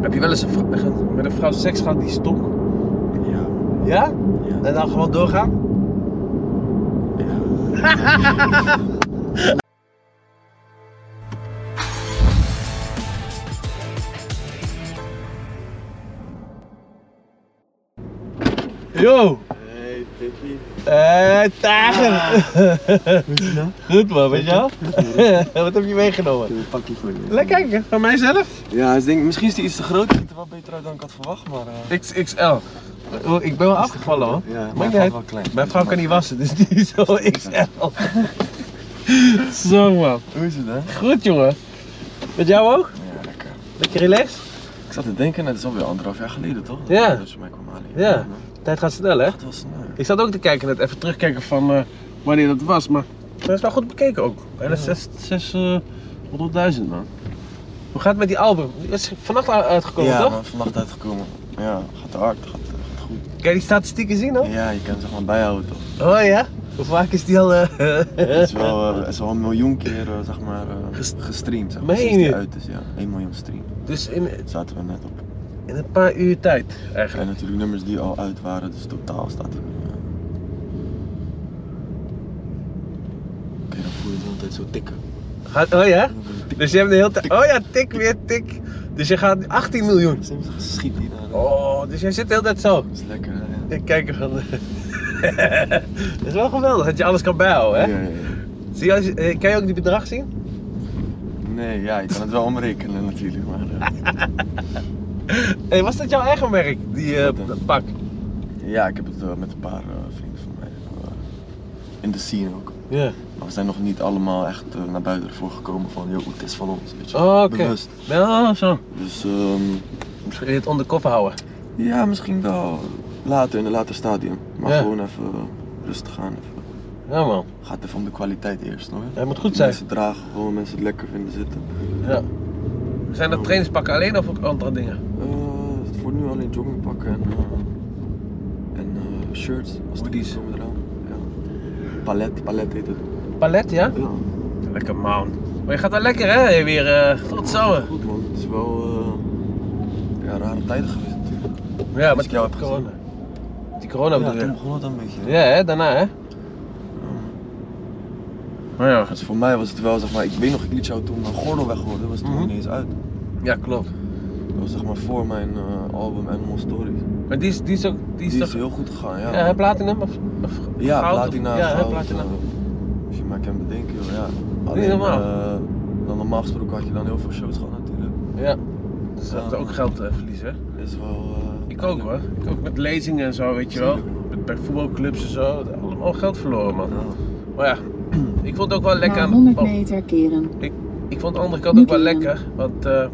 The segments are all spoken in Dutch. Heb je wel eens een vrou- met een vrouw seks gehad die stonk? Ja. Ja? Ja. En dan gewoon doorgaan? Yo! Hey, Pippie. Eh, dagen! Goed man, weet je wel? Wat heb je meegenomen? een pakje voor je. Lekker kijken, van mijzelf? Ja, dus ik denk, misschien is die iets te groot. Ziet er wel beter uit dan ik had verwacht, maar... eh, XXL. Oh, Ik ben wel afgevallen hoor. ja, Maar mijn jij- vrouw wel klein. Mijn vrouw kan niet wassen, dus die is zo XL. Zo man. Hoe is het, hè? Goed jongen. Met jou ook? Ja, lekker. Beetje relaxed? Ik zat te denken, het is alweer anderhalf jaar geleden, toch? Dat Ja. Dus mij kwam halen. Ja. man. Tijd gaat snel hè? Dat was eh, snel. Ik zat ook te kijken, net even terugkijken van eh, wanneer dat was, maar dat is wel goed bekeken ook. Bijna 600.000 man. Hoe gaat het met die album? Die is vannacht al uitgekomen ja, toch? man, vannacht uitgekomen. Ja, gaat hard, gaat, gaat goed. Kan je die statistieken zien hoor? Ja, je kan het zeg maar bijhouden, toch? Oh ja? Hoe vaak is die al... eh, Het is wel, eh, het is wel een miljoen keer, eh, zeg maar, eh, gestreamd, zeg maar. Meen sinds die je? uit is, ja. 1 miljoen stream. dus in, Zaten we net op. in een paar uur tijd En eigenlijk. natuurlijk nummers die al uit waren, dus totaal staat er nu. eh. Oké, dan voel je het de hele tijd zo tikken. Gaat, oh ja? Dus je hebt de hele tijd... Oh ja, tik weer, tik. Dus je gaat 18 miljoen. Soms schiet die naar. Dat Oh, dus jij zit de hele tijd zo. is lekker, hè? ja. Ik kijk ervan. Dat is wel geweldig dat je alles kan bijhouden, hè? Ja, ja, ja. Zie je, als je- eh, kan je ook die bedrag zien? Nee, ja, je kan het wel omrekenen natuurlijk, maar eh, Hey, was dat jouw eigen merk, die eh, Wat dan? pak? ja, ik heb het eh, met een paar eh, vrienden van mij eh, in de scene ook. Ja. Maar we zijn nog niet allemaal echt eh, naar buiten ervoor gekomen van, joh, het is van ons, weet je. Oh, oké. Bewust. Oh, zo. Dus ehm, Misschien kun je het onder koffer houden. ja, misschien wel later, in een later stadium. Maar Ja. gewoon even eh, rustig aan, even Ja, man. gaat even om de kwaliteit eerst hoor. Hij moet goed zijn. Mensen dragen gewoon, mensen het lekker vinden zitten. Ja. Zijn dat trainingspakken alleen of ook andere dingen? Eh, voor nu alleen joggingpakken en, eh, en eh, shirts. Als Hoodies. komen eraan. Ja. Palet, palet heet het. Palet, ja? Ja, Lekker, man. Maar je gaat wel lekker, hè? Weer eh tot zo. goed man. Het is wel eh, ja, rare tijden geweest natuurlijk. Ja, maar ik jou heb corona. Die corona ja, bedoel toen je? begon het een beetje. Ja, hè? Daarna, hè? Maar ja. Dus voor mij was het wel zeg maar, ik weet nog, ik liet jou toen mijn gordel weggooien, dat was toen Mhm. ineens uit. Ja, klopt. Dat was zeg maar voor mijn eh, album Animal Stories. Maar die is, die is ook... Die Die is is, toch- heel goed gegaan, ja. Ja, hè, Eh, platinum of, of Ja, goud? platina, ja, hè, goud, platina. eh, als je maar kan bedenken, joh, ja. Alleen, normaal. eh, dan normaal gesproken had je dan heel veel shows gehad natuurlijk. Ja. Dus dat is Ja. ook geld eh, verliezen. hè? Is wel... eh, Ik ook hoor. Ik ook met lezingen en zo, weet je wel. Met, bij voetbalclubs en zo. Allemaal geld verloren man. Ja. Maar ja, ik vond het ook wel lekker Na aan 100 oh, Nou, meter keren. Ik vond de andere kant ook wel Niet lekker. Want eh,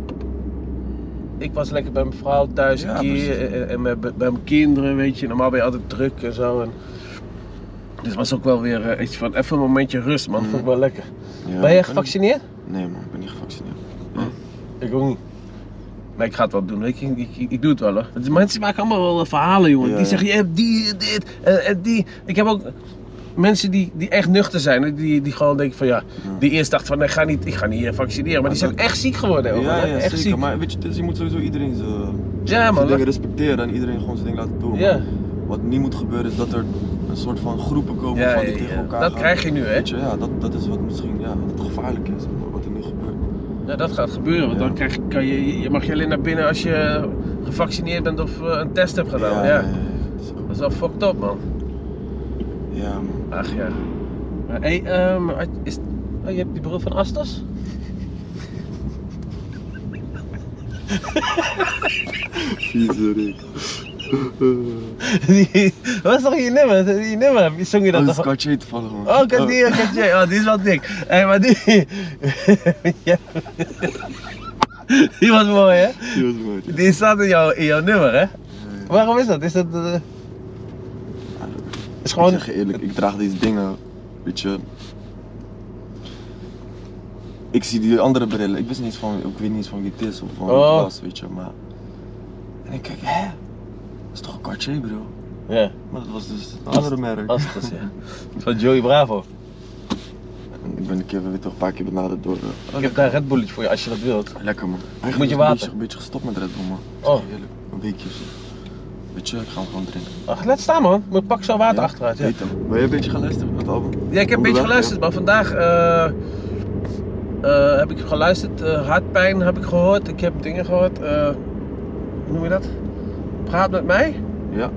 ik was lekker bij mijn vrouw thuis Ja, een keer. precies. En, en met- bij, mijn kinderen, weet je. Normaal ben je altijd druk en zo. En... Dus het was ook wel weer eh, iets van even een momentje rust man. Mhm. Vond ik wel lekker. Ja, ben ik je niet- gevaccineerd? Nee man, ik ben niet gevaccineerd. Ik ook niet. Maar ik ga het wel doen, weet je. Ik, ik, ik doe het wel hoor. Want die mensen maken allemaal wel eh, verhalen, jongen. Ja, Die ja. zeggen, je hebt die, dit, eh, en, en die. Ik heb ook mensen die, die echt nuchter zijn. hè, Die, die gewoon denken van ja, die eerst dachten van, nee, ik ga niet, ik ga niet eh, vaccineren. Maar Maar die zijn dat- echt ziek geworden, hoor. ja, ja, echt zeker. ziek. Maar weet je, het is- je moet sowieso iedereen zijn, Ja, zijn man. dingen dat- respecteren en iedereen gewoon zijn ding laten doen. Ja, Maar Wat niet moet gebeuren is dat er een soort van groepen komen ja, van ja, die tegen ja. elkaar dat gaan. krijg je nu, hè. Weet je, ja, dat, dat is wat misschien ja, wat gevaarlijk is, wat er nu gebeurt. Ja, dat gaat gebeuren. Want Ja. dan krijg, je- kan je, je mag je alleen naar binnen als je gevaccineerd bent of eh, een test hebt gedaan. Ja, dat is ook- Dat is wel fucked up, man. ja, man. Ach ja. Maar hey, ehm, had- is, oh, je hebt die bril van Astos? Vieze Rick. Die- Wat was toch je nummer? Die nummer, wie zong je Dat dat Oh, is toch? Cartier te vallen, man. Oh, Kadir, Kadir. Oh, die is wel dik. Hé, maar die... Ja. Die was mooi, hè? Die was mooi. ja. Die staat in, jouw in jouw nummer, hè? Waarom is dat? Is dat... eh, Ik is gewoon... zeg je eerlijk, ik draag deze dingen, weet je. Ik zie die andere brillen, ik wist niet eens van, ik weet niet eens van wie het is of van wie Oh. het was, weet je, maar... En ik kijk, hè? Dat is toch een Cartier, bro? Ja, Oh. Maar dat was dus een andere merk. Astos, ja. Van Joey Bravo. Ik ben een keer weer toch een paar keer benaderd door. eh, Ik heb daar Red Bulletje voor je als je dat wilt. Lekker man. Eigenlijk Moet je is water? Een beetje, een beetje gestopt met Red Bull man. Oh. Heerlijk. Een weekje. zo. Weet je, ik ga hem gewoon drinken. Ach, laat staan man. Maar pak zo water Ja? achteruit. Ja. Heet hem. Ben je een beetje gaan luisteren naar het album? ja, ik heb een beetje Onderweg, geluisterd, maar vandaag eh, eh, heb ik geluisterd. eh, hartpijn heb ik gehoord. Ik heb dingen gehoord. eh, hoe noem je dat? Praat met mij. Ja.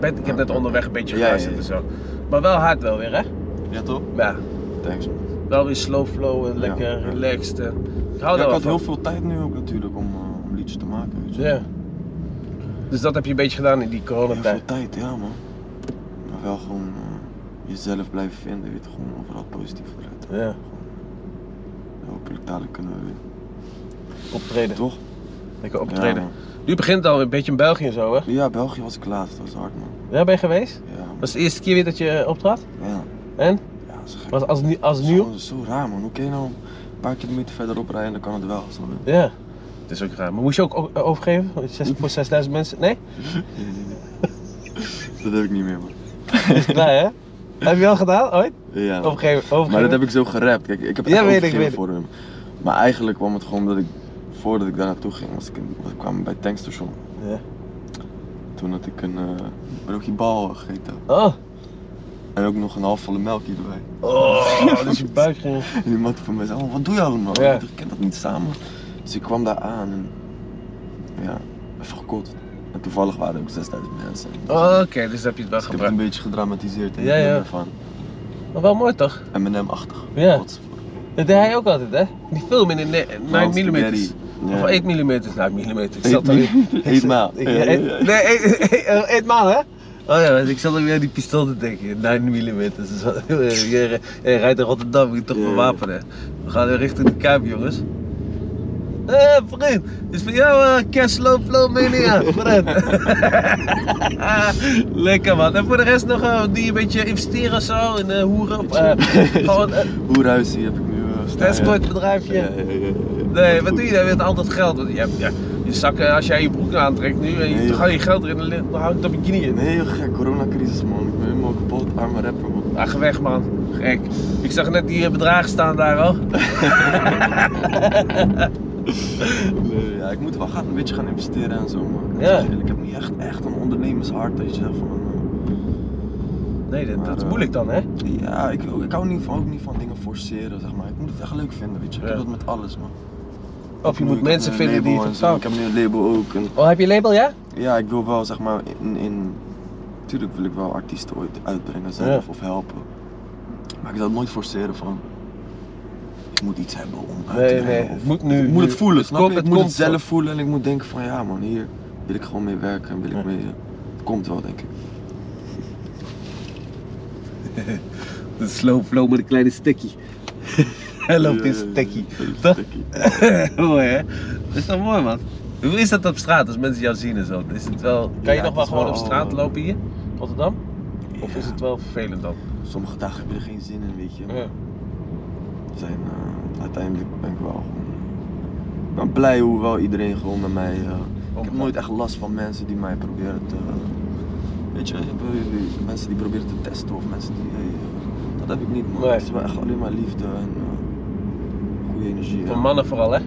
Ben- Ik heb net onderweg een beetje Ja, ja, ja. geluisterd en zo. Maar wel hard wel weer, hè? Ja, toch? Ja, Thanks man. wel weer slow flow en lekker ja. relaxed. eh. ik hou Ja, daar ik wel had van. heel veel tijd nu ook natuurlijk om, eh, om liedjes te maken. Weet je. Ja. Dus dat heb je een beetje gedaan in die Heel coronatijd. veel tijd, ja man. Maar wel gewoon eh, jezelf blijven vinden, weet je, gewoon overal positief eruit. Ja, Hopelijk dadelijk kunnen we weer. optreden. Toch? Lekker Ja, optreden. man. nu begint het al een beetje in België en zo, hè? ja, België was ik laatst, dat was hard man. Daar ben je geweest? Ja, man. Was het de eerste keer weer dat je optrad? Ja, En? ja dat is gek. Was als, nie- als Dat is nieuw? gewoon zo raar man. Hoe kan je nou een paar kilometer verderop rijden en dan kan het wel. snap je? Ja. Het is ook raar. Maar moest je ook o- overgeven? Mm. Zes- Voor 6000 mensen? Nee? Dat heb ik niet meer man. Is klaar, hè? Heb je al gedaan ooit? Ja, man. Overgeven, overgeven. Maar dat heb ik zo gerapt. Kijk, ik heb het Ja, echt weet ik, overgegeven weet ik. voor hem. Maar eigenlijk kwam het gewoon dat ik, voordat ik daar naartoe ging, was ik, in- was, kwam ik bij het tankstation. Ja. Toen had ik een eh, broodje bal gegeten. Oh. En ook nog een half volle melk hierbij. Oh, dus je buik ging... En die man van mij zei, oh, wat doe je allemaal? Ja. Ik ken dat niet samen. Dus ik kwam daar aan en ja, even gekot. En toevallig waren er ook 6000 mensen. Oh, Oké, dus dat heb je Dus het wel ik heb het een gebruikt. beetje gedramatiseerd in Ja, ja, ja. van Maar wel mooi toch? M&M-achtig. Ja. Trots voor. Dat deed hij ook altijd, hè? Die film in de ne- 9 Miles mm. Spaghetti. Of Ja. 8 mm. Nou, millimeter. Ik Eet zat alweer... mi- eet maal. Ik- ja, eet- Nee, eet- eet- eh, eet maal, hè? Oh ja, dus ik zat alweer aan die pistool te denken. 9 mm. Dus wat- je, je rijdt in Rotterdam, moet je toch Ja. bewapenen. We gaan weer richting de Kuip, jongens. Hé, eh, vriend. Is voor jou eh cash low flow mania, vriend. Lekker, man. En voor de rest nog eh, die een beetje investeren of zo in eh, hoeren. Of, eh, gewoon eh, Hoerhuis, die heb ik nu eh, een staan. escortbedrijfje. Ja, ja, ja, ja, ja. Nee, Goed. wat doe je dan met al dat geld? Want je, hebt, ja, je zakken, als jij je broek aantrekt nu en je Nee, joh. gaat je geld erin, dan ligt- dan houdt de bikini in. Nee, joh, gek, coronacrisis man. Ik ben helemaal kapot, arme rapper man. Ach, Ah, weg man. Gek. Ik zag net die eh, bedragen staan daar al. Nee, ja, ik moet wel gaan, een beetje gaan investeren en zo man. Ja. Ik heb niet echt, echt een ondernemershart dat je zegt van... Nee, dat, dat Maar, is eh, moeilijk dan, hè? eh, ja, ik, ik hou niet van, ook niet van dingen forceren zeg maar. Ik moet het echt leuk vinden weet je. Ik Ja. heb dat met alles man. Of je Nu, moet ik heb mensen een vinden die label je en Eh, zo. Ik vertrouwt. heb nu een label ook. En, Oh, heb je label, ja? ja, ik wil wel zeg maar in... in tuurlijk wil ik wel artiesten ooit uitbrengen zelf Ja. of helpen. Maar ik zal het nooit forceren van... Ik moet iets hebben om uit te Nee, brengen nee. of- Het moet nu. Ik moet het nu. voelen, snap komt- je? Ik moet het komt zo. zelf voelen en ik moet denken van ja man, hier wil ik gewoon mee werken en wil ik Ja. mee... eh, Het komt wel denk ik. De slow flow met een kleine stekkie. Hij loopt in Ja, ja, ja, stekkie. ja, een Toch? stekkie. mooi, hè? Dat is toch mooi, man? Hoe is dat op straat als mensen jou zien en zo? Is het wel... Kan je Ja, nog het wel is gewoon wel- op straat lopen hier? Rotterdam? Of Ja. is het wel vervelend dan? Sommige dagen heb je er geen zin in, weet je. maar Ja. Zijn, eh, uiteindelijk ben ik wel gewoon... Ik ben blij hoe wel iedereen gewoon met mij... eh, ik heb nooit echt last van mensen die mij proberen te... weet je, je hebt, eh, mensen die proberen te testen of mensen die... eh, dat heb ik niet man. Nee. Het is wel echt alleen maar liefde en eh, goede energie. Voor ja. mannen vooral, hè?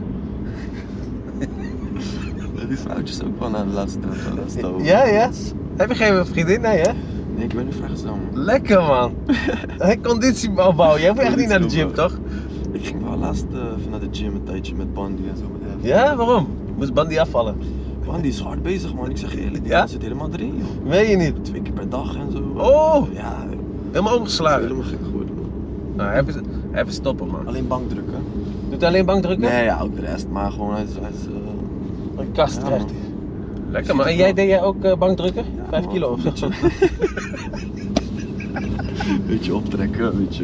Die vrouwtjes ook wel naar de laatste de laatste over. ja. Heb je geen vriendin? Nee, hè? Nee, ik ben nu vrijgezel, man. Lekker, man. Hey, Conditie opbouwen. Jij moet echt niet naar de gym, toch? Ik ging wel laatst eh, even naar de gym een tijdje met Bandy en zo. met hem. Ja, waarom? Moest Bandy afvallen? Bandy is hard bezig, man. Ik zeg je eerlijk, die Ja? man zit helemaal erin, joh. Weet je niet. Twee keer per dag en zo. Oh! Ja, het is Helemaal omgeslagen. helemaal gek geworden, man. Nou, even, even stoppen, man. Alleen bankdruk, hè? Doet hij alleen bankdrukken? Nee, ja, ook de rest, maar gewoon hij is... Hij is eh, Een kast Ja, krijgt man. hij. Lekker, man. En jij deed jij ook eh, bankdrukken? ja, Vijf man, kilo of zo? Een beetje, beetje optrekken, weet je.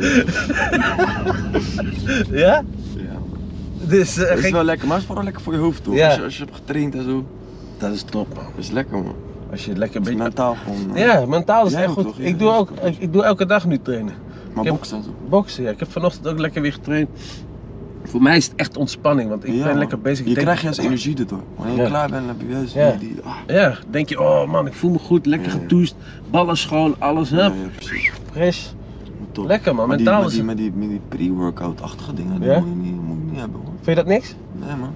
Ja? Ja, man. Dus eh, Het is geen... wel lekker, maar het is vooral lekker voor je hoofd, toch? Ja. Als, je, als je hebt getraind en zo. Dat is top, man. Dat is lekker, man. Als je het lekker een Het is beetje... mentaal gewoon... eh, Ja, mentaal is het Jij echt ook goed. toch? Ja, Ik doe, dat is ook, goed. ik, ik doe elke dag nu trainen. Maar Ik heb- boksen en zo. Boksen, ja. Ik heb vanochtend ook lekker weer getraind. Voor mij is het echt ontspanning, want ik Ja, ben man. lekker bezig. Je Ik denk- krijgt juist energie erdoor. Wanneer je Ja. klaar bent, dan heb je juist Ja. die- die... Ah, Ja, denk je, oh man, ik voel me goed, lekker Ja, ja. getoest, ballen schoon, alles, hup, ja, ja, precies. fris. Je moet top. Lekker, man. Maar die, Mentaal maar is die, het- maar die, maar die pre-workout-achtige dingen, die Ja? moet, je niet, moet je niet hebben hoor. Vind je dat niks? Nee man.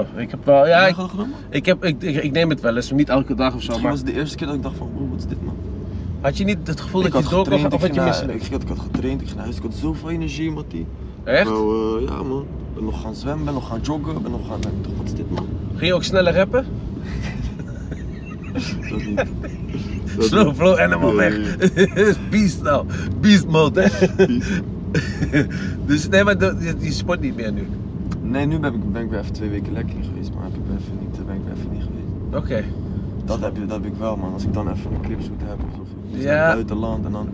Oh, ik heb wel, ja, Heb ik, jij dat gedaan man? ik, heb, ik, ik, ik neem het wel eens, niet elke dag of zo, Misschien maar was het de eerste keer dat ik dacht van, oh, wat is dit man? had je niet het gevoel ik dat je had door kon gaan getraind, ik, of had ging je naar- misselijk? ik, ging- ik had getraind, ik ging naar huis, ik had zoveel energie Mattie. Echt? Bro, eh, ja man. Ik ben nog gaan zwemmen, ben nog gaan joggen, ben nog gaan... Ik dacht, wat is dit man? Ging je ook sneller rappen? Dat niet. Dat Slow niet. flow animal weg. Beast nou. Beast mode. hè? dus nee, maar dat- je, je sport niet meer nu. Nee, nu ben ik, ben ik weer even twee weken lekker geweest, maar heb ik weer even niet, ben ik weer even niet geweest. Oké. Dat heb, je, dat heb ik wel man, als ik dan even een cripshoot heb of zo. iets Ja. naar het buitenland en dan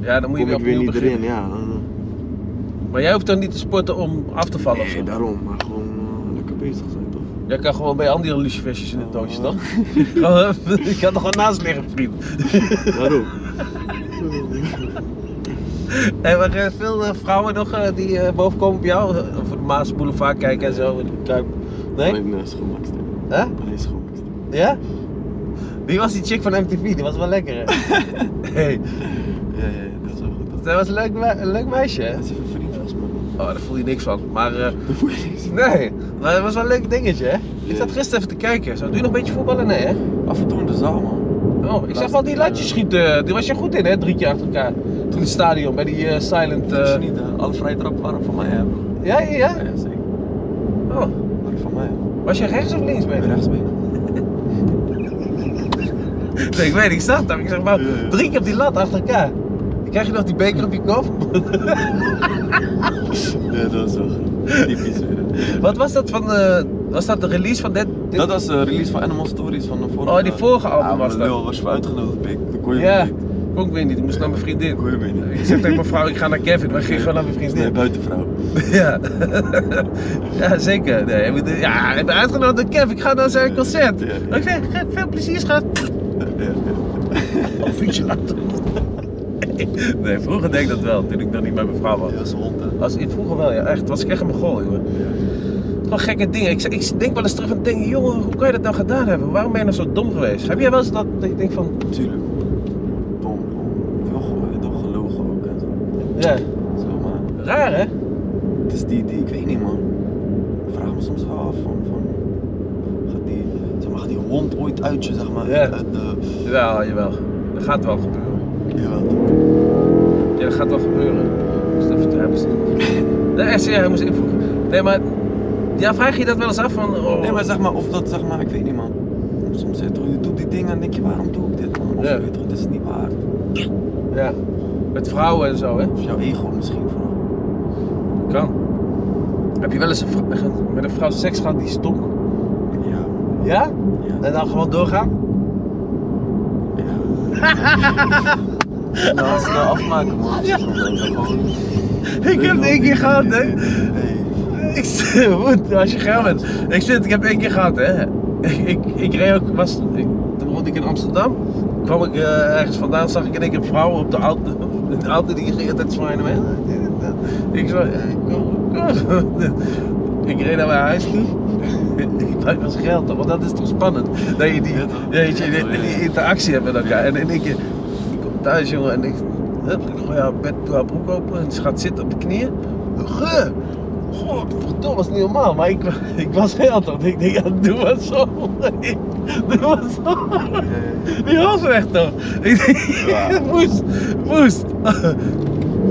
Ja, dan moet je kom weer ik weer opnieuw niet beginnen. erin. Ja, dan, eh, Maar jij hoeft dan niet te sporten om af te vallen nee, of zo. daarom, maar gewoon eh, lekker bezig zijn toch? Jij kan gewoon bij andere lucifestjes in het doosje Eh, staan. Gewoon, eh, Je kan er gewoon naast liggen, vriend. Daarom. En maar eh, veel eh, vrouwen nog eh, die eh, bovenkomen op jou? eh, Of de Maas Boulevard kijken en zo. en die Kuip. Nee? Alleen uh, schoonmaakster. Hè? Alleen schoonmaakster. Ja? Die was die chick van MTV, die was wel lekker hè? hey, Ja, ja, ja, dat is wel goed. Dat, zij was een leuk, me- een leuk meisje hè? dat is even vriend volgens mij. man. Oh, daar voel je niks van. Maar eh, Dat voel je niks. nee, maar het was wel een leuk dingetje hè? Ik zat gisteren even te kijken. Zo, doe je nog een beetje voetballen? Nee hè? Af en toe in de zaal man. Oh, ik zag wel die latjes schieten. Die was je goed in, hè? Drie keer achter elkaar. Toen in het stadion, bij die eh, silent... Dat is eh, niet, eh, alle vrije trappen waren van mij hebben. Ja, ja, ja. Ja, zeker. Oh, Waren van mij. man. was je rechts of links Ik ben benen? rechtsbeen. Nee, ik weet niet, ik zag dat. Ik zeg maar, Ja, ja. drie keer op die lat achter elkaar. Dan krijg je nog die beker op je kop. Ja, dat is wel goed. Typisch weer. Wat was dat van... eh, was dat de release van dit? dit- Dat was de release van Animal Stories van de vorige. Oh, die vorige album Ja, maar was dat. lul, was je voor uitgenodigd, pik. Dat kon je ja, niet. kon ik weer niet. Ik moest naar mijn vriendin. Dat kon je weer niet. Ik zeg tegen mijn vrouw, ik ga naar Kevin, maar ik ging gewoon naar mijn vriendin. Nee, buitenvrouw. Ja. ja, zeker. Nee, ik moet- ja, ik ben uitgenodigd door Kev, ik ga naar zijn concert. Ja, ja. Ik zeg, "Ge- veel plezier schat. Ja, ja. Of fietsje later. Nee, vroeger deed ik dat wel, toen ik nog niet bij mijn vrouw was. Ja, dat is een hond, hè. Als, vroeger wel, ja, echt. Was ik echt een goal, jongen. Gewoon gekke dingen. Ik, ik denk wel eens terug en denk, jongen, hoe kan je dat nou gedaan hebben? Waarom ben je nou zo dom geweest? Heb jij wel eens dat, dat je denkt van, Tuurlijk. Dom, gewoon veel ge- toch gelogen ook en zo. ja, Zo, maar raar hè? het is die, die, ik weet niet man. Ik vraag me soms wel af van, van gaat die, zeg maar, gaat die hond ooit uit je, zeg maar, Ja. uit de, Jawel, jawel. Dat gaat wel gebeuren. jawel. Ja, dat gaat wel gebeuren. Dus dat hij moest invoegen. Nee, echt serieus, hij moest invoegen. Nee, maar ja, vraag je dat wel eens af van. Oh. Nee, maar zeg maar, of dat, zeg maar, ik weet niet man. Soms zit er, je doet die dingen en denk je, waarom doe ik dit man? Of Ja. je weet toch, het is niet waar. Ja. Met vrouwen en zo, hè? Of jouw ego misschien vooral. Kan. Heb je wel eens een vrou- met een vrouw seks gehad die stonk? Ja, Ja? ja, En dan gewoon doorgaan? ja. Nou, snel afmaken man. Ja. Gewoon, Ik heb het één keer gehad, hè? Nee. Ik zweer, goed, als je geil bent. Ik zit, ik heb één keer gehad, hè. Ik, ik, ik reed ook, was, ik, toen woonde ik in Amsterdam. kwam ik eh, ergens vandaan, zag ik in één keer vrouwen op de auto, in de auto die ging altijd zwaaien. hè. Ik zo, eh, kom, kom. Ik reed naar mijn huis toe. Ik pak wel geld, want dat is toch spannend. Dat je die, Ja, toch? weet je, die, Ja, ja. die interactie hebt met elkaar. En in één keer, ik kom thuis jongen en ik, hup, ik gooi haar bed, doe haar broek open en ze gaat zitten op de knieën. Geur! Godverdomme, dat is niet normaal, maar ik, ik was heel toch. Ik denk, ja, doe maar zo. Doe maar zo. Die was weg toch? Ik denk, Ja. moest, moest.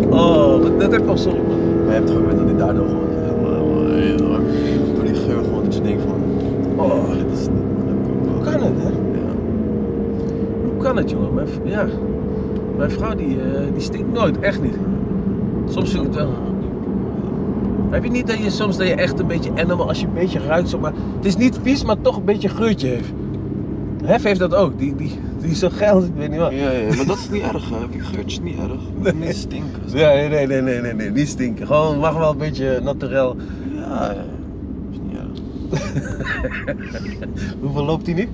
Oh, wat- dat heb ik al sorry man. Maar je hebt het moment dat hij daardoor gewoon helemaal heel erg- door die geur gewoon dat je denkt van, Oh, oh, dit is niet hoe kan het hè? Ja. Hoe kan het jongen? Mijn, v- ja. Mijn vrouw die, eh, die stinkt nooit, echt niet. Soms vind ik het wel. Heb je niet dat je soms dat je echt een beetje animal, als je een beetje ruikt, zeg maar, het is niet vies, maar toch een beetje geurtje heeft. Hef heeft dat ook, die, die, die is zo geil, ik weet niet wat. Ja, ja, maar dat is niet erg hè. Kijk, geurtje is niet erg. Het moet niet stinken. Ja, nee, nee, nee, nee, nee, nee, niet stinken. Gewoon, mag wel een beetje naturel. Ja, ja. Is niet erg. Hoeveel loopt die nu?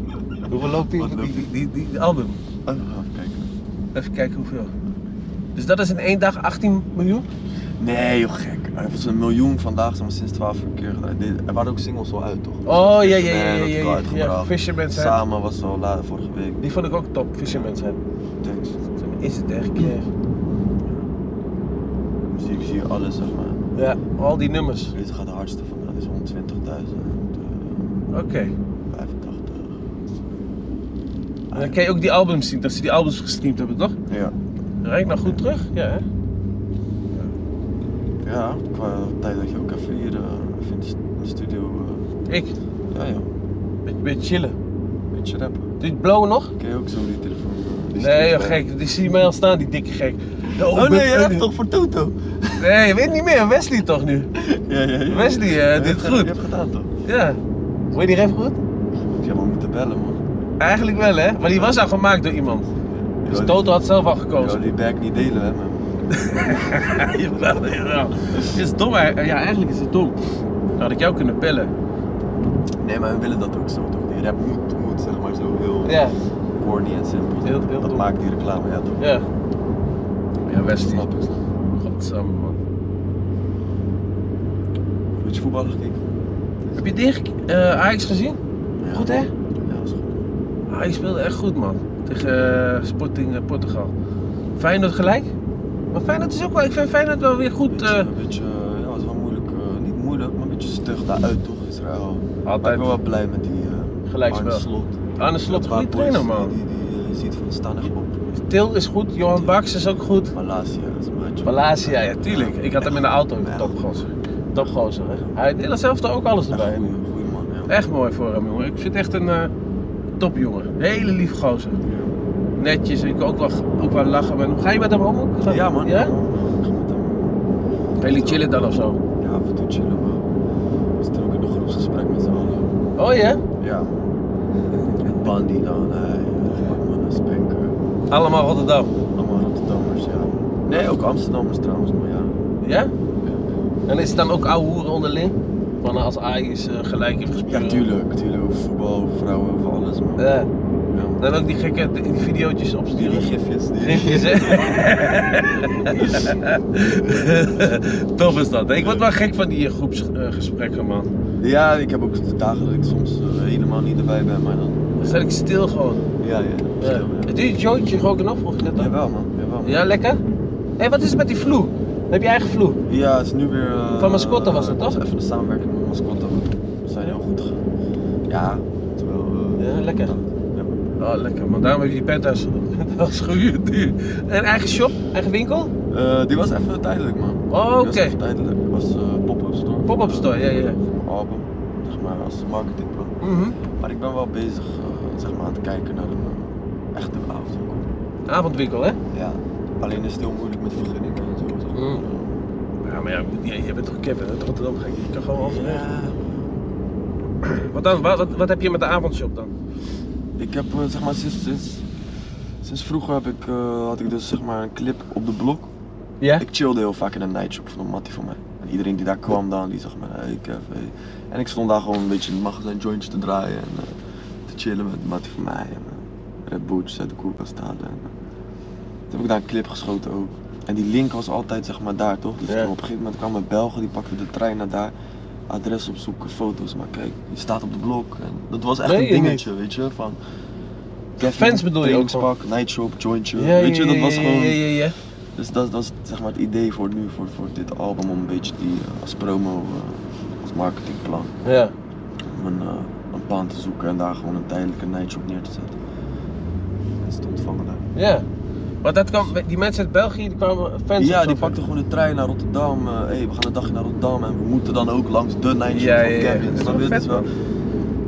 Hoeveel loopt die, Oh, Wat die, loopt die, die, die album? Ah, even kijken. Even kijken hoeveel. Dus dat is in één dag 18 miljoen? Nee, joh, gek. Er was een miljoen vandaag, zeg maar, sinds 12 uur keer gedraaid. Dit- Er waren ook singles al uit, toch? Oh, ja, ja, Fisherman ja, ja, had ik ja, al ja, ja. uitgebracht. Fisherman zijn. Samen was al later vorige week. Die vond ik ook top, Fisherman zijn. Thanks. Toen is het echt keer. zie, ik zie hier alles, zeg maar. Ja, al die nummers. Dit gaat de hardste van, dat is 120.000, eh, Oké. 85. En dan kan je ook die albums zien, dat ze die albums gestreamd hebben, toch? Ja. Rijdt nou goed terug? Ja, hè? Ja, qua tijd dat je ook even hier eh, even in de st- in de studio. Ik, eh, ja, ja. een beetje chillen. Beetje rappen. Doe je het blauwe nog? Ken je ook zo die telefoon? eh, die Nee, steekt joh, bij? gek. Die zie je mij al staan, die dikke gek. De Oh nee, je hebt toch voor Toto? Nee, je weet niet meer. Wesley toch nu? Ja, ja, ja. Wesley, eh, Ja, je doet hebt- het goed. Je hebt gedaan toch? Ja. Hoor je die ref goed? Ja, maar we moeten bellen man. Eigenlijk wel, hè? Maar die was al gemaakt door iemand. Dus Ja, Toto had zelf al die- ja, gekozen. die bag niet delen hè man. Jawel, jawel. Het is dom, hè? ja, eigenlijk is het dom. Dan had ik jou kunnen bellen. Nee, maar we willen dat ook zo toch? Die rap moet, moet zeg maar zo heel Ja, corny en simpel. zijn. Heel- heel dat dom. maakt die reclame, ja toch? ja. Ja, Wesley. Snap ik. snap ik. Godsamme, man. Een beetje voetbal gekeken? Heb je Dirk eh Ajax gezien? Ja. Goed, hè? Ja, dat is goed. Hij speelde echt goed, man. Tegen eh, Sporting eh, Portugal. Feyenoord gelijk. Maar Feyenoord is ook wel... Ik vind Feyenoord wel weer goed... Beetje, eh, een beetje, eh, ja, het was wel moeilijk, eh, niet moeilijk, maar een beetje stug daaruit toch, Israël. Maar ik altijd. ben wel blij met die eh Gelijkspel. Arne Slot. Arne Slot, Een goede paar boys trainer, man. Die, die, die, eh, ziet van, die staan echt op. Til is goed, Johan Baks is ook goed. Malasia is een maatje. Palacia, ja, tuurlijk. Ik had hem in de auto, Ja. topgozer. Topgozer, hè. Hij deed zelf ook alles Echt erbij. een goede man, ja. Echt mooi voor hem, jongen. Ik vind het echt een eh, topjongen. Hele lief gozer. Netjes, ik kan ook wel, ook wel lachen met hem. Ga je met hem om? ook? Ga- eh, Ja, man. Ja? Ik ga met hem. Jullie chillen dan of zo? Ja, af en toe chillen we. We zitten ook in een groepsgesprek met z'n allen. Oh ja? Ja. Bandy dan, eh, hij, nog wat mannen, Spanker. Allemaal Rotterdam. eh, Allemaal Rotterdammers, ja. Nee, ook Amsterdammers trouwens, maar ja. Ja? En is het dan ook ouwe hoeren onderling? Van als Ajax eh, gelijk heeft gespeeld? Ja, tuurlijk, tuurlijk. Over voetbal, over vrouwen, over alles, man. Ja. Ja. man. Dan ook die gekke die Die, videootjes die opsturen. gifjes, die Rimpjes, hè? Tof is dat. hè? Ik word wel gek van die eh, groepsgesprekken, man. Ja, ik heb ook dagen dat ik soms eh, helemaal niet erbij ben, maar dan... Dan sta ik stil gewoon. Ja, ja. Ja. Verschil, ja. Doe je het jointje roken nog? Vroeg je net al. Jawel, man. Jawel, man. Ja, lekker? Hé, wat is het met die vloer? Heb je eigen vloer? Ja, het is nu weer... eh, Van Mascotte was het, toch? Even de samenwerking met Mascotte. We zijn heel goed gegaan. Ja, terwijl... eh, Ja, lekker. dat- ja. Oh, lekker man. Daarom heb je die penthouse penthouse gehuurd nu. En eigen shop? Eigen winkel? Eh, die was even tijdelijk, man. Oh, Die was oké. even tijdelijk. Het was eh pop-up store. Pop-up store, ja, ja. Voor mijn album, zeg maar, als marketingplan. Mhm. Maar ik ben wel bezig, eh, zeg maar, aan het kijken naar een eh, echte avondwinkel. Avondwinkel, hè? Ja. Alleen is het heel moeilijk met vergunningen en zo. Zeg maar. Mm. Ja, maar ja, je, je bent toch Kevin uit Rotterdam, gek. Je kan gewoon overal. Ja. Wat dan? Wat, wat, wat heb je met de avondshop dan? Ik heb, eh, zeg maar, sinds, sinds, sinds vroeger heb ik, eh, had ik dus, zeg maar, een clip op de blok. Ja? Ik chillde heel vaak in een nightshop van een mattie van mij. En iedereen die daar kwam dan, die zag me, hey Kev, hey. En ik stond daar gewoon een beetje in het magazijn jointjes te draaien en eh, te chillen met een mattie van mij. En eh, Red Boots uit de koelkast halen. En, eh, toen heb ik daar een clip geschoten ook. En die link was altijd zeg maar daar toch? Dus Ja. toen op een gegeven moment kwamen Belgen, die pakten de trein naar daar. Adres opzoeken, foto's, maar kijk, die staat op de blok. En dat was echt Nee, een je niet. dingetje, weet je, van... Kev, Fans bedoel je ook gewoon? trainingspak, nightshop, jointje, weet je, dat was ja, gewoon... Ja, ja, ja. Dus dat, dat is zeg maar het idee voor nu, voor, voor dit album, om een beetje die eh, als promo, eh, als marketingplan, ja. om een, eh, een baan te zoeken en daar gewoon een tijdelijke nightshop neer te zetten. Mensen te ontvangen daar. Ja. Maar dat kwam, die mensen uit België, die kwamen fans ja, die opzoeken. pakten gewoon de trein naar Rotterdam. Hé, hey, we gaan een dagje naar Rotterdam en we moeten dan ook langs de nightshop Ja, van ja, ja. Kevin. Dat Snap is je? wel Dus, vet, wel,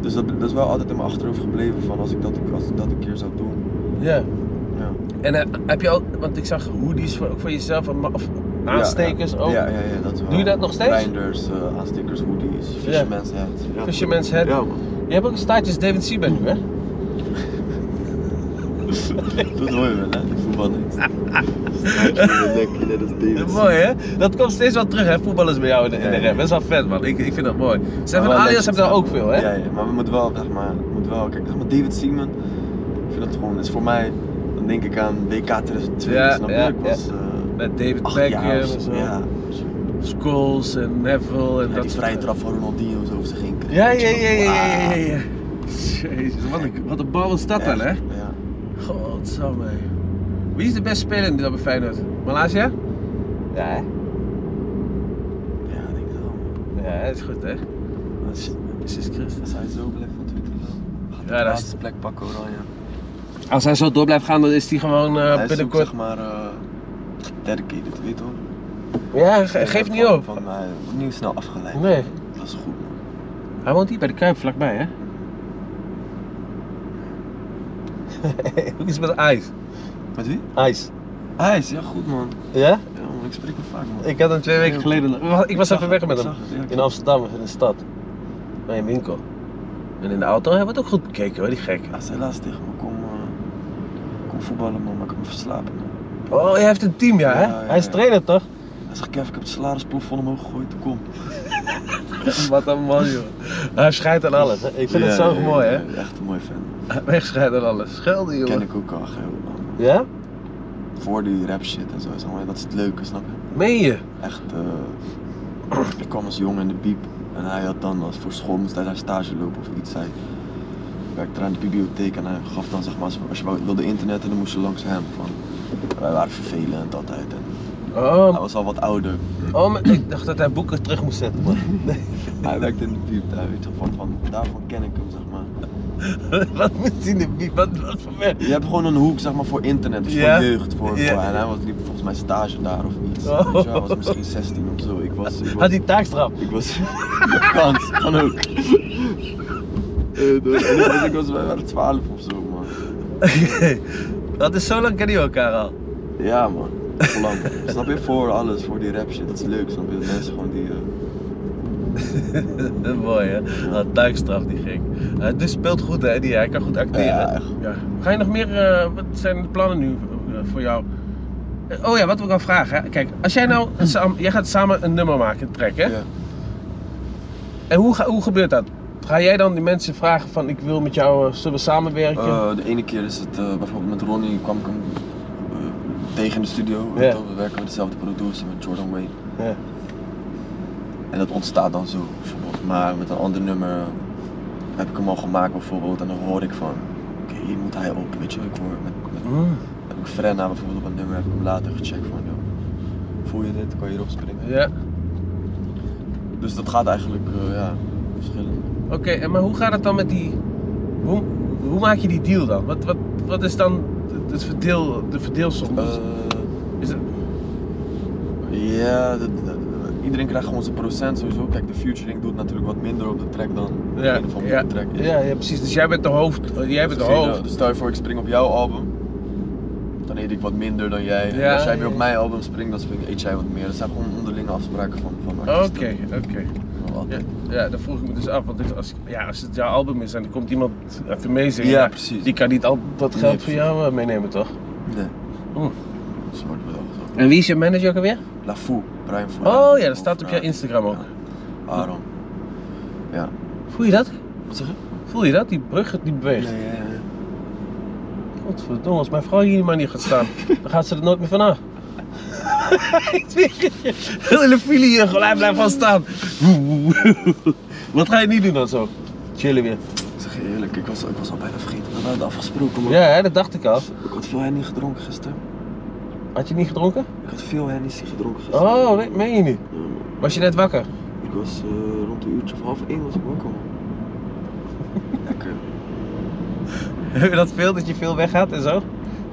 dus dat, dat is wel altijd in mijn achterhoofd gebleven van als ik dat, als ik dat een keer zou doen. Ja. Ja. En eh, heb je ook, want ik zag hoodies voor, ook voor jezelf, en ma- of aanstekers ja, ja. ook. Ja, ja, ja, dat wel. Doe je dat nog steeds? Blinders, eh, aanstekers, hoodies, fisherman's hat. Ja. Fisherman's hat. Ja, man. Je hebt ook een staartje als David Seaman nu, hè? Dat hoor je wel, hè? Ik voetbal niks. Lekker, dat is Dat is David. mooi, hè? Dat komt steeds wel terug, hè? Voetballers bij jou in de, in de Ja, ja. rap. Dat is wel vet, man. Ik, ik vind dat mooi. Maar Stefan wel Alias legends, hebben daar ook veel, hè? Ja, ja, maar we moeten wel, zeg maar, we moeten wel, kijk, zeg maar David Seaman, ik vind dat gewoon, is voor mij, dan denk ik aan WK 2002, Ja, snap je? ja, ik was eh Met David acht Beckham jaar of en zo. zo. Ja, Scholes en Neville en en dat die soort- vrije trap van Ronaldinho zo over zich heen kreeg. Ja, Weet ja, je ja, wel, ja, ja, ja, wauw. ja. Jezus, wat een, wat een bal was dat dan, hè? Echt, Ja. Godsamme. Wie is de beste speler nu dan bij Feyenoord? Malaysia? Ja, hè? Ja, dat is goed, hè? Maar shit, Jezus Christus, hij is zo blij van Twitter. Gaat hij Ja, de dat is- laatste plek pakken, Oranje. Als hij zo door blijft gaan, dan is hij gewoon eh, hij zoekt, binnenkort. zeg maar, eh Terki, dit weet hoor. Ja, ge- geef niet Van- op. Van mij, wordt niet snel afgeleid. Nee. Dat is goed, man. Hij woont hier bij de Kuip vlakbij, hè? Hoe is het met ijs? Met wie? Ijs. Hij is, ja goed, man. Ja? Ja, man, ik spreek hem vaak, man. Ik had hem twee weken Ja. geleden. nog- Ik was zag even weg het, met ik hem. zag het, ja, In klopt. Amsterdam, in de stad. Bij een winkel. En in de auto hebben we het ook goed bekeken hoor, die gek. Hij zei laatst tegen me, kom, eh, kom voetballen, man, maar ik heb me verslapen. man. Oh, hij heeft een team, ja, hè? Ja, ja, Hij is ja. trainer toch? Hij zegt, Kev, ik heb het salarisplafond omhoog gegooid, kom. Wat een man, joh. Hij scheidt aan alles. Hè? Ik vind het Ja, zo ja, mooi, hè? ja, ja, Echt een mooi fan. Hij scheidt aan alles. Schelde, Ken joh. ik ook al geheel, man. Ja? Voor die rap shit en zo, zeg maar. Dat is het leuke, snap je? Meen je? Echt, eh, ik kwam als jongen in de piep. En hij had dan, als voor school moest hij daar stage lopen of iets. Hij werkte aan de bibliotheek en hij gaf dan, zeg maar, als- als je wou- wilde internetten, dan moest je langs hem. Van, wij waren vervelend altijd. En hij Oh, was al wat ouder. oh, maar ik dacht dat hij boeken terug moest zetten, man. Hij werkte in de piep, daar, weet je, van, van, daarvan ken ik hem, zeg maar. wat moet hij in de biep? Wat, wat voor werk? Je hebt gewoon een hoek zeg maar, voor internet, dus Ja. voor jeugd. Voor, Ja. voor- en hij was, liep volgens mij stage daar of iets. Oh. Weet je wel, hij was misschien 16 of zo. Ik was. Ik was, Had hij taakstraf? ik was kans, kan ook. Eh, door- en ik was, ik was wij waren 12 of zo, man. dat is zo lang kennen jullie elkaar al. Ja, man. Voor lang. snap je? Voor alles, voor die rap shit. Dat is leuk, snap je? Dat mensen gewoon die. eh, Mooi hè, Wat taakstraf die gek. Eh, dus speelt goed hè, die, hij kan goed acteren. Ja, echt. Ja. Ga je nog meer, eh, wat zijn de plannen nu eh, voor jou? Eh, oh ja, wat wil ik al vragen hè. Kijk, als jij nou, een saam- jij gaat samen een nummer maken, een track hè. ja. En hoe, ga- hoe gebeurt dat? Ga jij dan die mensen vragen van ik wil met jou, eh, zullen we samenwerken? Eh, de ene keer is het eh, bijvoorbeeld met Ronnie kwam ik hem eh, tegen in de studio. Ja. Yeah. We werken met dezelfde producer, met Jordan Wayne. Ja. En dat ontstaat dan zo, bijvoorbeeld. Maar met een ander nummer eh, heb ik hem al gemaakt, bijvoorbeeld. En dan hoor ik van, oké, hier moet hij op, weet je. wel. Ik hoor met, met, Mm. heb ik Frenna bijvoorbeeld op een nummer, heb ik hem later gecheckt van, joh, voel je dit? Kan je hierop springen? ja. Dus dat gaat eigenlijk, eh, ja, verschillend. Oké, en maar hoe gaat het dan met die. Hoe, hoe maak je die deal dan? Wat, wat, wat is dan het verdeel, de verdeelsom? Eh, is het, ja, dat- dat- iedereen krijgt gewoon zijn procent sowieso. Kijk, de featuring doet natuurlijk wat minder op de track dan Ja, een of andere ja. track is. ja, ja, precies. Dus jij bent de hoofd. eh, jij bent Dus de geen, hoofd. eh, Dus stel je voor, ik spring op jouw album. Dan eet ik wat minder dan jij. En Ja, als jij weer ja. op mijn album springt, dan spring, eet jij wat meer. Dat zijn gewoon onderlinge afspraken van, van Oké, artiesten. oké. Van Ja, altijd. ja, dat vroeg ik me dus af. Want dit- als, ja, als het jouw album is en er komt iemand even meezingen. Ja, precies. Die kan niet al dat Nee, geld voor precies. jou eh, meenemen, toch? Nee. Oeh. Zo wordt wel zo. En wie is je manager ook alweer? Lafou, Brian Fouan. Oh ja, dat staat op je Instagram ook. Ja. Aaron. Ja. Voel je dat? Wat zeg je? Voel je dat? Die brug die beweegt. Nee, ja, ja. Godverdomme, als mijn vrouw hier maar niet gaat staan, dan gaat ze er nooit meer vanaf. Ik zweer het je. Heel hele file hier, gewoon hij blijft van staan. Wat ga je niet doen dan zo? Chillen weer. Ik zeg je eerlijk, ik was, ik was al bijna vergeten dat we hadden afgesproken. Man. Ja, hè, dat dacht ik al. Ik had veel hennie gedronken gisteren. Had je niet gedronken? Ik had veel hennie gedronken gisteren. Oh, nee, meen je niet? Ja, man. Was je net wakker? ik was eh, rond een uurtje of half één was ik wakker. man. Lekker. Heb je dat veel, dat je veel weggaat en zo?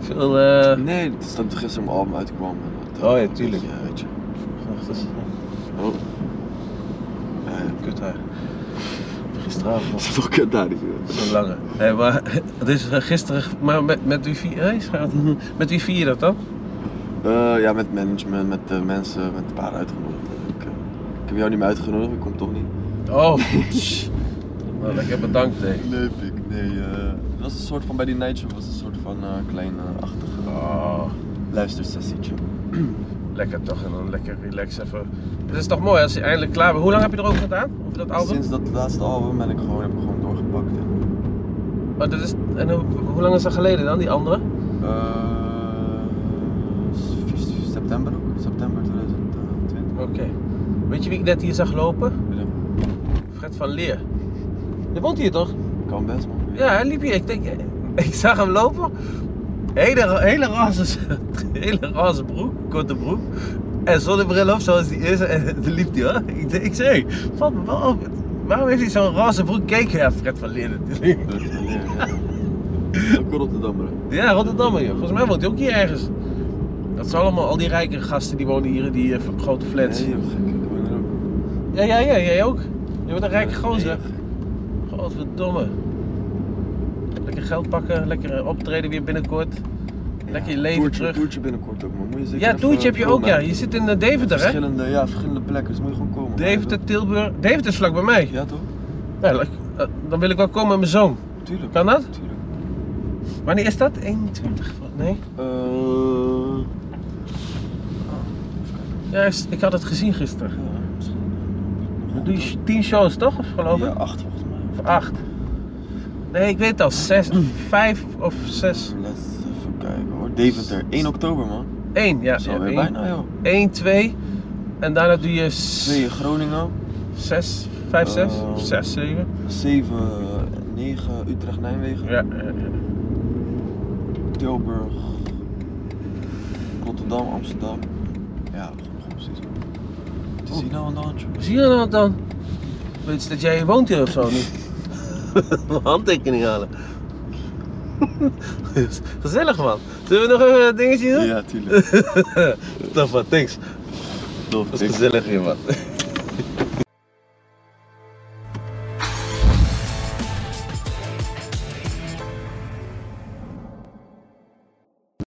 Veel, eh... Nee, het is dat gisteren mijn album uitkwam. en dat, Oh ja, eh, tuurlijk. Ja, weet je. Wacht eens. Oh. Ja, Kut haar. Gisteravond nog fuck it, daar is het. zo'n lange. Hé, maar het is eh, gisteren, maar met, met wifi, hé, schat. Met wifi je dat dan? Eh, ja, met management, met eh, mensen, met een paar uitgenodigd. Ik, eh, ik heb jou niet meer uitgenodigd, ik kom toch niet. Oh, nou, lekker bedankt, hè. Nee, pik, nee. eh. Het was een soort van, bij die nightshow was een soort van eh klein eh, achtige Oh, luistersessietje. lekker toch, en dan lekker relax even. Het is toch mooi als je eindelijk klaar bent. Hoe lang heb je erover gedaan? Op dat album? Sinds dat laatste album ben ik gewoon, heb ik gewoon doorgepakt. En, Oh, dat is, en hoe, hoe lang is dat geleden dan, die andere? eh, september ook, september 2020. Oké. Weet je wie ik net hier zag lopen? Ja, Fred van Leer. Je woont hier toch? Kan best man. Ja, hij liep hier. Ik, denk, ik zag hem lopen. Hele, hele, roze, hele roze broek, korte broek. en zonnebril op, zoals die is. En toen liep die hoor. Ik, ik zei, valt me wel op. Waarom heeft hij zo'n roze broek? Kijk, ja, Fred van Leeuwen. Fred van Leeuwen, ja. Ook een Rotterdammer. hè? Ja, Rotterdam, joh. Volgens mij woont hij ook hier ergens. Dat zijn allemaal al die rijke gasten die wonen hier in die eh, grote flats. Nee, joh, gek. Ik ben er ook. Ja, ja, ja, jij ook. Je bent een rijke gozer. Nee, joh, Godverdomme. Lekker geld pakken, lekker eh, optreden weer binnenkort. gek. Lekker je Ja, leven toertje, terug. Toertje binnenkort ook, man. Moet je zeker Ja, even eh, toertje heb je ook, komen. ja. Je zit in eh, Deventer, hè? verschillende, Ja, verschillende plekken, dus moet je gewoon komen. man. Deventer, Tilburg. Deventer is vlak bij mij. Ja, toch? Ja, leuk. Eh, dan wil ik wel komen met mijn zoon. Tuurlijk. Kan dat? Tuurlijk. Wanneer is dat? 21? Nee? Eh, Ja, is- ik had het gezien gisteren. ja, misschien. We doen sh- 10 shows toch, of geloof ik? Ja, acht volgens mij. Of 8? Nee, ik weet het al. 6, Mm. 5 of 6. Laten we even kijken hoor. Deventer, 1 oktober man. 1, ja. Zo, weer 1, bijna joh. 2. En daarna doe je Twee in Groningen, 6, 5, 6 Eh, of 6, 7. 7, 9 Utrecht, Nijmegen, Ja, ja, ja. Tilburg, Rotterdam, Amsterdam. Ja, we gaan gewoon precies. man. Wat is hier nou aan de hand joh? Zie je dat dan? Weet je dat jij hier woont hier of zo nu? Mijn handtekening halen. Gezellig man. Zullen we nog even een dingetje doen? Ja, tuurlijk. Tof man, thanks. Tof, Dat is gezellig hier man.